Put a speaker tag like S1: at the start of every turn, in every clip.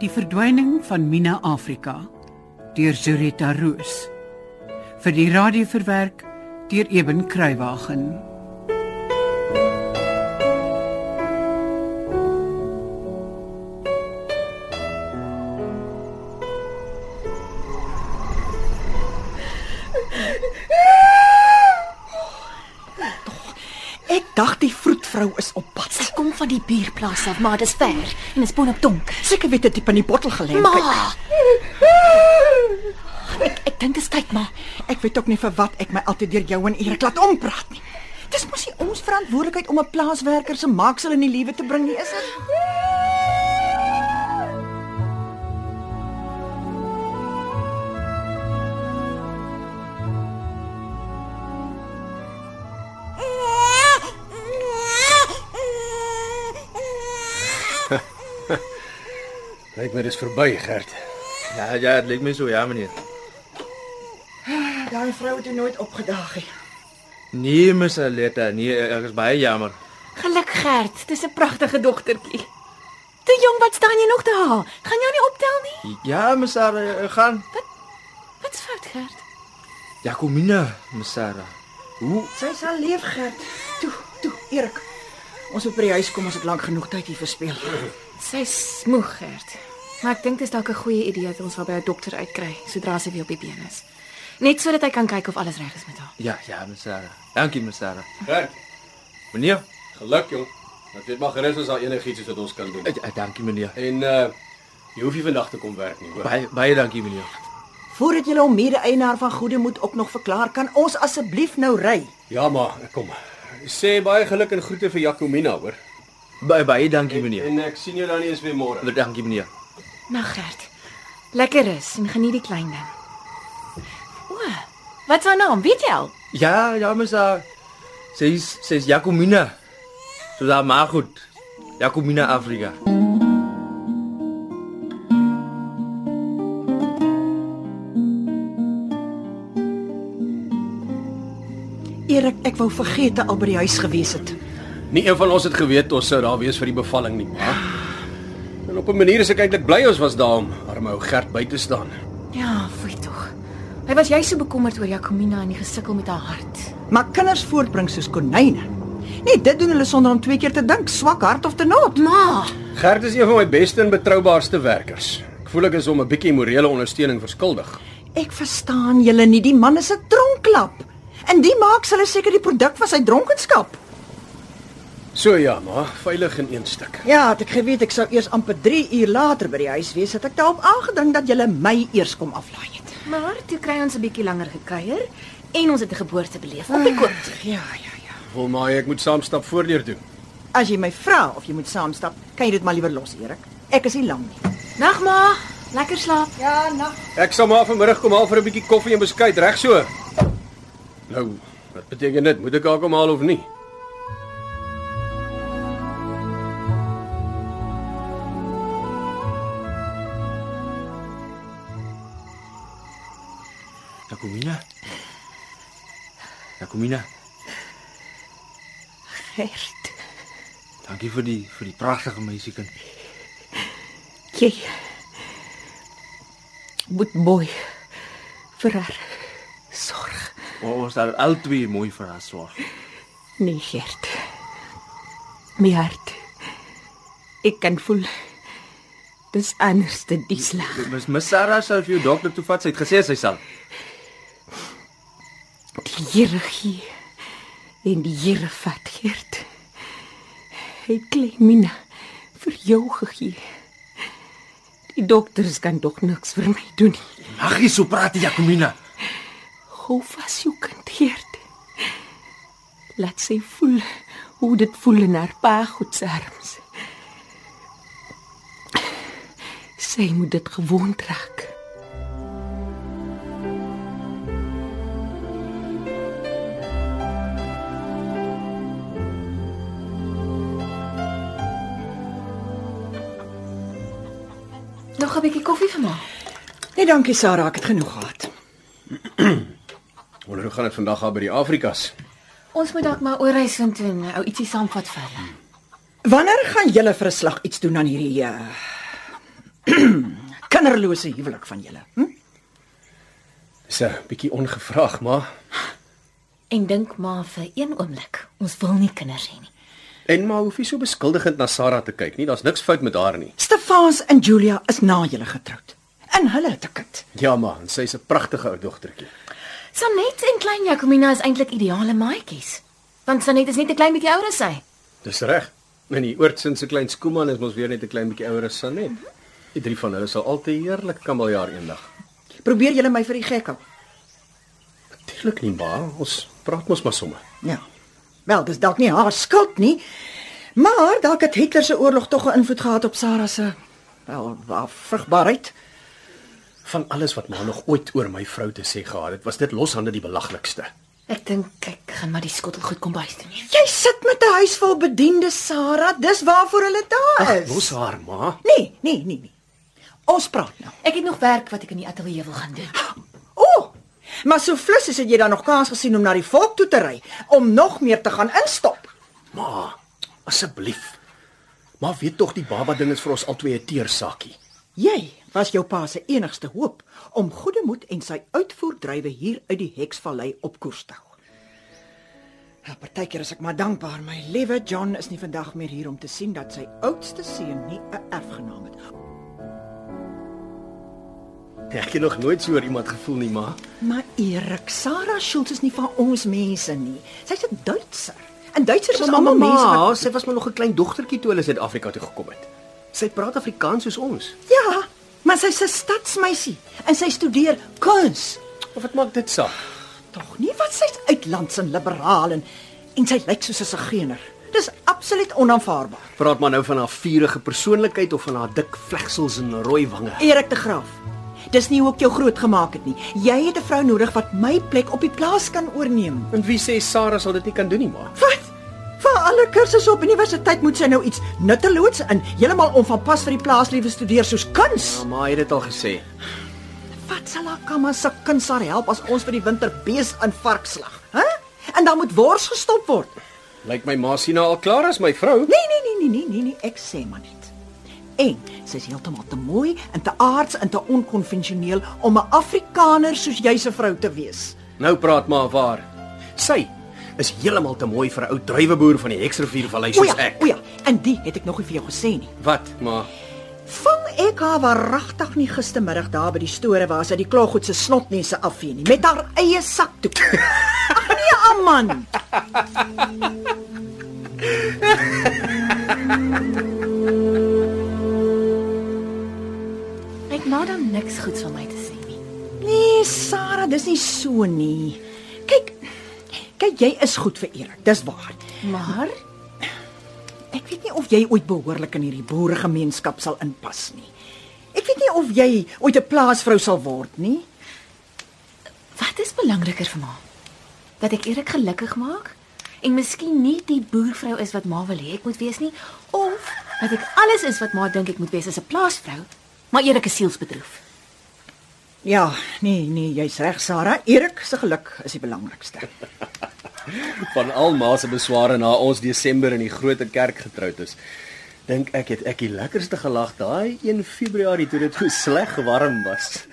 S1: Die verdwyning van Mina Afrika deur Zurita Roos vir die radio verwerk deur Eben Kruiwagen.
S2: Ek dacht die vroedvrou is op pad.
S3: Sy kom van die buurplaas af, maar dis ver en is bonop donker.
S2: Seker weet dit diep in die bottel gelê.
S3: Ma, ek ek dink dit is tyd, ma.
S2: Ek weet ook nie vir wat ek my altyd deur jou en Erik laat ompraat nie. Dis mos nie ons verantwoordelikheid om 'n plaaswerker se maaksel in die lewe te bring nie, is dit?
S4: Lyk my dis verby, Gert.
S5: Ja, ja, dit lyk my so, ja meneer.
S2: Daai vrou het jou nooit opgedaag nie.
S5: Nee, Miss Aletta, nee, ek is baie jammer.
S3: Geluk Gert, dis 'n pragtige dogtertjie. Toe jong, wat staan jy nog te haal? Gaan jou nie optel nie.
S5: Ja, Miss Sarah, ek gaan.
S3: Wat's fout, Gert?
S5: Jacomina, Miss Sarah. Hoe?
S2: Sy sal leef, Gert. Toe, toe, Erik. Ons moet by die huis kom, ons het lank genoeg tyd hier verspeel.
S3: Sy's moeg, Gert. Maar ek dink dis dalk 'n goeie idee dat ons haar by 'n dokter uitkry sodra sy weer op die been is. Net sodat hy kan kyk of alles reg is met haar.
S5: Ja, ja, Miss Sarah. Dankie, Miss Sarah.
S4: Gert,
S5: Meneer,
S4: geluk jong. Dat weet maar gerus as daar enigiets is wat ons kan doen.
S5: eh, eh, dankie meneer.
S4: En uh jy hoef nie vandag te kom werk nie, hoor.
S5: Baie baie dankie meneer.
S2: Voordat jy hom mede-eienaar van Goede moet ook nog verklaar, kan ons asseblief nou ry.
S4: Ja, maar kom. Sê baie geluk en groete vir Jacomina, hoor.
S5: Baie baie dankie meneer.
S4: En ek sien jou dan nie eens weer môre.
S5: Baie Dankie meneer.
S3: Nag, Nou, Gert. Lekker rus en geniet die klein ding. O, wat is haar naam? Weet jy al?
S5: Ja, ja, Miss Sarah. Sy's sy's Jacomina. So daar maar goed. Jacomina Afrika.
S2: Erik, ek wou vergeet dat al by die huis gewees het.
S4: Nie een van ons het geweet ons sou daar wees vir die bevalling nie, maar en op 'n manier is ek eintlik bly ons was daar om arme ou Gert by te staan.
S3: Ja, foei tog. Hy was jy so bekommerd oor Jacomina en die gesukkel met haar hart.
S2: Maar kinders voortbring soos konyne. Nee, dit doen hulle sonder om twee keer te dink, swak hart of te nood.
S3: Ma,
S4: Gert is een van my beste en betroubaarste werkers. Ek voel ek is hom 'n bietjie morele ondersteuning verskuldig.
S2: Ek verstaan julle nie, die man is 'n dronklap. En die maak hulle seker die produk van sy dronkenskap.
S4: So ja, maar veilig in een stuk.
S2: Ja, het ek geweet ek sou eers amper 3 uur later by die huis wees, het ek daarop aangedink dat julle my eers kom aflaai het.
S3: maar toe kry ons 'n bietjie langer gekuier en ons het 'n geboorte beleef op die koop.
S2: Ja, ja, ja.
S4: Wil maar ek moet saamstap voordeur doen.
S2: As jy my vra of jy moet saamstap, kan jy dit maar liewer los, Erik. Ek is nie lam nie.
S3: Nag ma, lekker slaap.
S2: Ja, nag.
S4: Ek sal maar vanmiddag kom haal vir 'n bietjie koffie en beskuit, reg so. Nou, wat beteken dit? Moet ek haar kom haal of nie?
S5: Jacomina. Jacomina,
S2: Gert,
S5: dankie vir die vir die pragtige meisiekind.
S2: jy moet mooi vir haar sorg.
S5: Ons sal albei mooi vir haar sorg.
S2: Nee, Gert. My hart. Ek kan voel dis anders te die slag.
S5: Mis Miss Sarah sal vir jou dokter toe vat. Sy het gesê sy sal.
S2: Die Here gee en die Here vat, Gert. Hy het klein Mina vir jou gegee. Die dokters kan tog niks vir my doen nie.
S5: Mag jy so praat, Jacomina?
S2: Hou vas jou kind, Gert. Laat sy voel hoe dit voel in haar pa goed se arms. Sy moet dit gewoond raak.
S3: Nog 'n bietjie koffie vir ma.
S2: Nee, dankie Sarah, ek het genoeg gehad.
S4: Wonder hoe gaan dit vandag daar by die Afrikas?
S3: Ons moet dalk maar oorreis en toe
S6: eh,
S3: 'n ou ietsie saamvat vir hulle.
S2: Wanneer gaan julle vir 'n slag iets doen aan hierdie uh, Kinderlose huwelik van julle. Hm?
S4: Dis 'n bietjie ongevraagd, maar
S6: En dink maar vir een oomblik, ons wil nie kinders hê nie.
S4: en maar hoef nie so beskuldigend na Sarah te kyk nie. Daar's niks fout met haar nie.
S2: Stefans en Julia is na julle getroud. En hulle het 'n kind.
S4: Ja, maar en sy's 'n pragtige ou dogtertjie.
S6: Sanet en klein Jacomina is eintlik ideale maatjies. Want Sanet is net 'n klein bietjie ouer as sy.
S4: Dis reg. En die oortsin se klein Skooman is mos weer net 'n klein bietjie ouer as Sanet. Die drie van hulle sal altyd heerlik kameljaar eendag.
S2: Probeer julle my vir die gek hou.
S4: Natuurlik nie, maar ons praat mos maar sommer.
S2: Ja. Wel, dis dalk nie haar skuld nie. Maar dalk het Hitler se oorlog tog 'n invloed gehad op Sarah se wel, haar vrugbaarheid.
S4: Van alles wat ma nog ooit oor my vrou te sê gehad het, was dit loshande die belaglikste.
S6: Ek dink ek gaan maar die skottel goed kom bys toe neem.
S2: Jy sit met 'n huis vol bediendes, Sarah. Dis waarvoor hulle daar is.
S4: Los haar, ma.
S2: Nee, nee, nee, nee. Ons praat nou.
S6: Ek het nog werk wat ek in die ateljee wil gaan doen.
S2: O! Oh, maar so flus is dit jy dan nog kans gesien om na die volk toe te ry om nog meer te gaan instop.
S4: Ma, asseblief. Maar weet tog die baba ding is vir ons albei 'n teersakkie.
S2: Jy was jou pa se enigste hoop om goeie moed en sy uitvoerdrywe hier uit die Heksvallei op koers te hou. Ja, partykeer is ek maar dankbaar my liewe John is nie vandag meer hier om te sien dat sy oudste seun nie 'n erfgenaam het.
S4: Ek het nog nooit so oor iemand gevoel nie, ma.
S2: Maar Erik, Sarah Schultz is nie van ons mense nie. Sy's 'n Duitser. En Duitsers is almal mense wat
S4: wat... sy was maar nog 'n klein dogtertjie toe hulle Suid-Afrika toe gekom het. Sy praat Afrikaans soos ons.
S2: Ja, maar sy's 'n stadsmeisie en sy studeer kuns.
S4: Of wat maak dit saak?
S2: Tog nie wat sy's uitlands en liberaal en en sy lyk soos 'n sigeener. Dis absoluut onaanvaarbaar.
S4: Praat maar nou van haar vurige persoonlikheid of van haar dik vlegsels en rooi wange.
S2: Erik de Graaf. Dis nie hoe ek jou grootgemaak het nie. Jy het 'n vrou nodig wat my plek op die plaas kan oorneem.
S4: En wie sê Sarah sal dit nie kan doen nie, ma?
S2: Wat? Vir alle kursusse op universiteit moet sy nou iets nutteloos en heeltemal onvanpas vir die plaaslewe studeer soos kuns.
S4: Ja, Ma het dit al gesê.
S2: Wat sal haar kamma se kuns haar help as ons vir die winter bees in varkslag, hè? En dan moet wors gestop word.
S4: Lyk my ma sien haar al klaar as my vrou.
S2: Nee, nee, nee, nee, nee, nee, nee, ek sê maar net. En sy is heeltemal te mooi en te aards en te onkonvensioneel om 'n Afrikaner soos jy se vrou te wees.
S4: Nou praat maar waar. Sy is heeltemal te mooi vir 'n ou druiweboer van die Heksrivier vallei
S2: O
S4: soos
S2: ja,
S4: ek.
S2: o ja, en die het ek nog nie vir jou gesê nie.
S4: Wat, ma?
S2: Vang ek haar waaragtig nie gistermiddag daar by die store waar sy die kloggoed se snotnese afvee nie met haar eie sakdoek. Ag nee, man.
S6: Ek nou dan niks goeds van my te sê nie.
S2: Nee, Sarah, dis nie so nie. Kyk. Kyk, jy is goed vir Erik, dis waar.
S6: Maar
S2: Ek weet nie of jy ooit behoorlik in hierdie boeregemeenskap sal inpas nie. Ek weet nie of jy ooit 'n plaasvrou sal word nie.
S6: wat is belangriker vir ma? Dat ek Erik gelukkig maak en miskien nie die boervrou is wat ma wil hê ek moet wees nie of dat ek alles is wat ma dink ek moet wees as 'n plaasvrou, maar Erik is sielsbedroef.
S2: Ja, nee, nee, jy's reg, Sarah. Erik se geluk is die belangrikste.
S4: Van al ma se besware na ons Desember in die groot kerk getroud is, dink ek het ek die lekkerste gelag daai 1 Februarie toe dit so sleg warm was.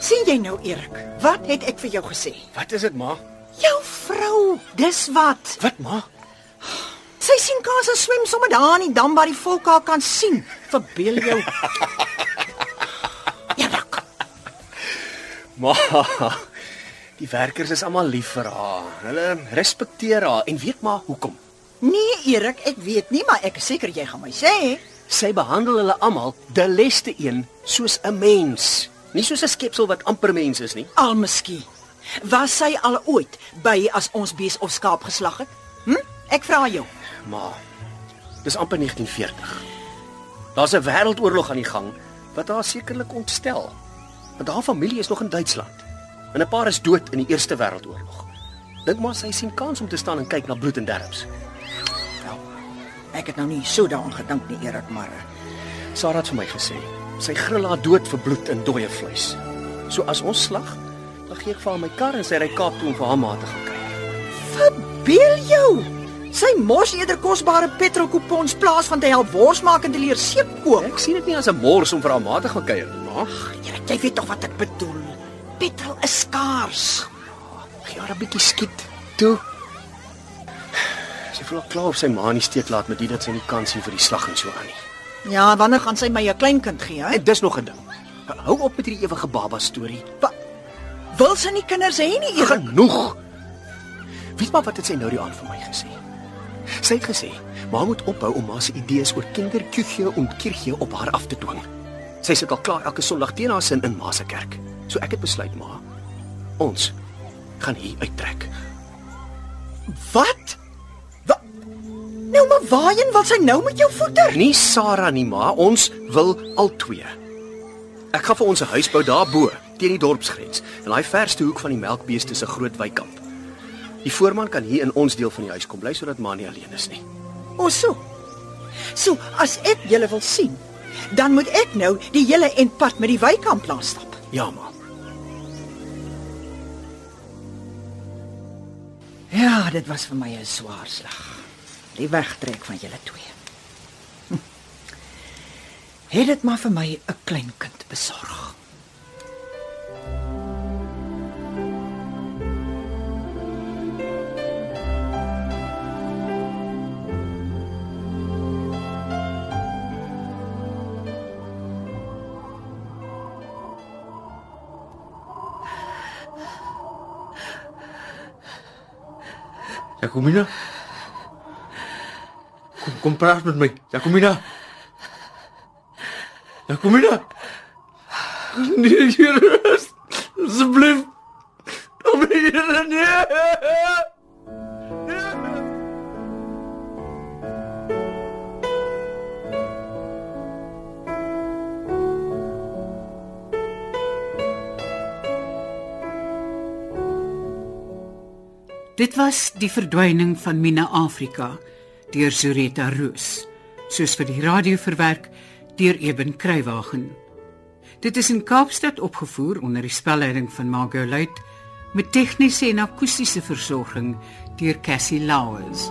S2: sien jy nou, Erik? Wat het ek vir jou gesê?
S4: Wat is dit, ma?
S2: Jou vrou, dis wat.
S4: Wat, ma?
S2: Sy sien kans en swem sommer daar in die dam waar die volk haar kan sien. Verbeel jou. Erik.
S4: Ma. Die werkers is almal lief vir haar. Hulle respekteer haar en weet maar hoekom.
S2: Nee, Erik, ek weet nie, maar ek is seker jy gaan my sê.
S4: Sy behandel hulle almal, die leste een, soos 'n mens, nie soos 'n skepsel wat amper mens is nie.
S2: Al miskien. Was sy al ooit by as ons bees of skaap geslag het? Hm? Ek vra jou.
S4: Ma. Dis amper 1940. Daar's 'n wêreldoorlog aan die gang wat haar sekerlik ontstel. Want haar familie is nog in Duitsland. En 'n paar is dood in die Eerste Wêreldoorlog. Dink maar sy sien kans om te staan en kyk na bloed en derms.
S2: Ek het nou nie so daaraan gedink nie, Erik, maar eh,
S4: Sarah het vir my gesê, sy gril haar dood vir bloed en dooie vleis. So as ons slag, dan gee ek vir haar my kar en sy ry Kaap toe om vir haar ma te gaan kry.
S2: verbeel jou. Sy mors eerder kosbare petrolkupons plaas van te help wors maak en te leer seep kook.
S4: Ek sien dit nie as 'n mors om vir haar ma te gaan kuier nie, maar
S2: Jare, jy weet tog wat ek bedoel. Petrol is skaars.
S4: gee haar 'n bietjie skiet. Toe. Sy voel al klaar of sy ma nie steek laat met dit dat sy nie kan sien vir die slag en so aan nie.
S2: Ja, wanneer gaan sy my 'n kleinkind gee, hè?
S4: En dis nog 'n ding. Hou op met hierdie ewige baba storie.
S2: Wa- Wil sy nie kinders hê nie, Erik?
S4: Genoeg. Weet maar wat het sy nou die aand vir my gesê? Sy het gesê, "Ma moet ophou om ma se idees oor kinderkiegie en kirgie op haar af te dwing." Sy sit al klaar elke Sondag teen haar sin in ma se kerk. So ek het besluit, ma, ons gaan hier uittrek.
S2: Wat? Wa nou maar waarheen wil sy nou met jou voeter?
S4: Nie Sarah nie, ma, ons wil al twee. Ek gaan vir ons 'n huis bou daarbo, teen die dorpsgrens, in daai verste hoek van die melkbeeste se groot wykamp. Die voorman kan hier in ons deel van die huis kom bly sodat ma nie alleen is nie.
S2: O, so. So, as ek julle wil sien, dan moet ek nou die hele end pad met die wykamp langs stap.
S4: Ja, ma.
S2: Ja, dit was vir my 'n swaar slag. Die wegtrek van julle twee. Hm. Het dit maar vir my 'n klein kind besorg.
S5: Jacomina. Kom kom praat met my. Jacomina. Jacomina. Nee, hier is. Asseblief. Kom hier nee.
S1: Dit was die verdwyning van Mina Afrika deur Zureta Roos, soos vir die radio verwerk deur Eben Kruiwagen. Dit is in Kaapstad opgevoer onder die spelleiding van Margot Luit met tegniese en akoestiese versorging deur Cassie Lauers.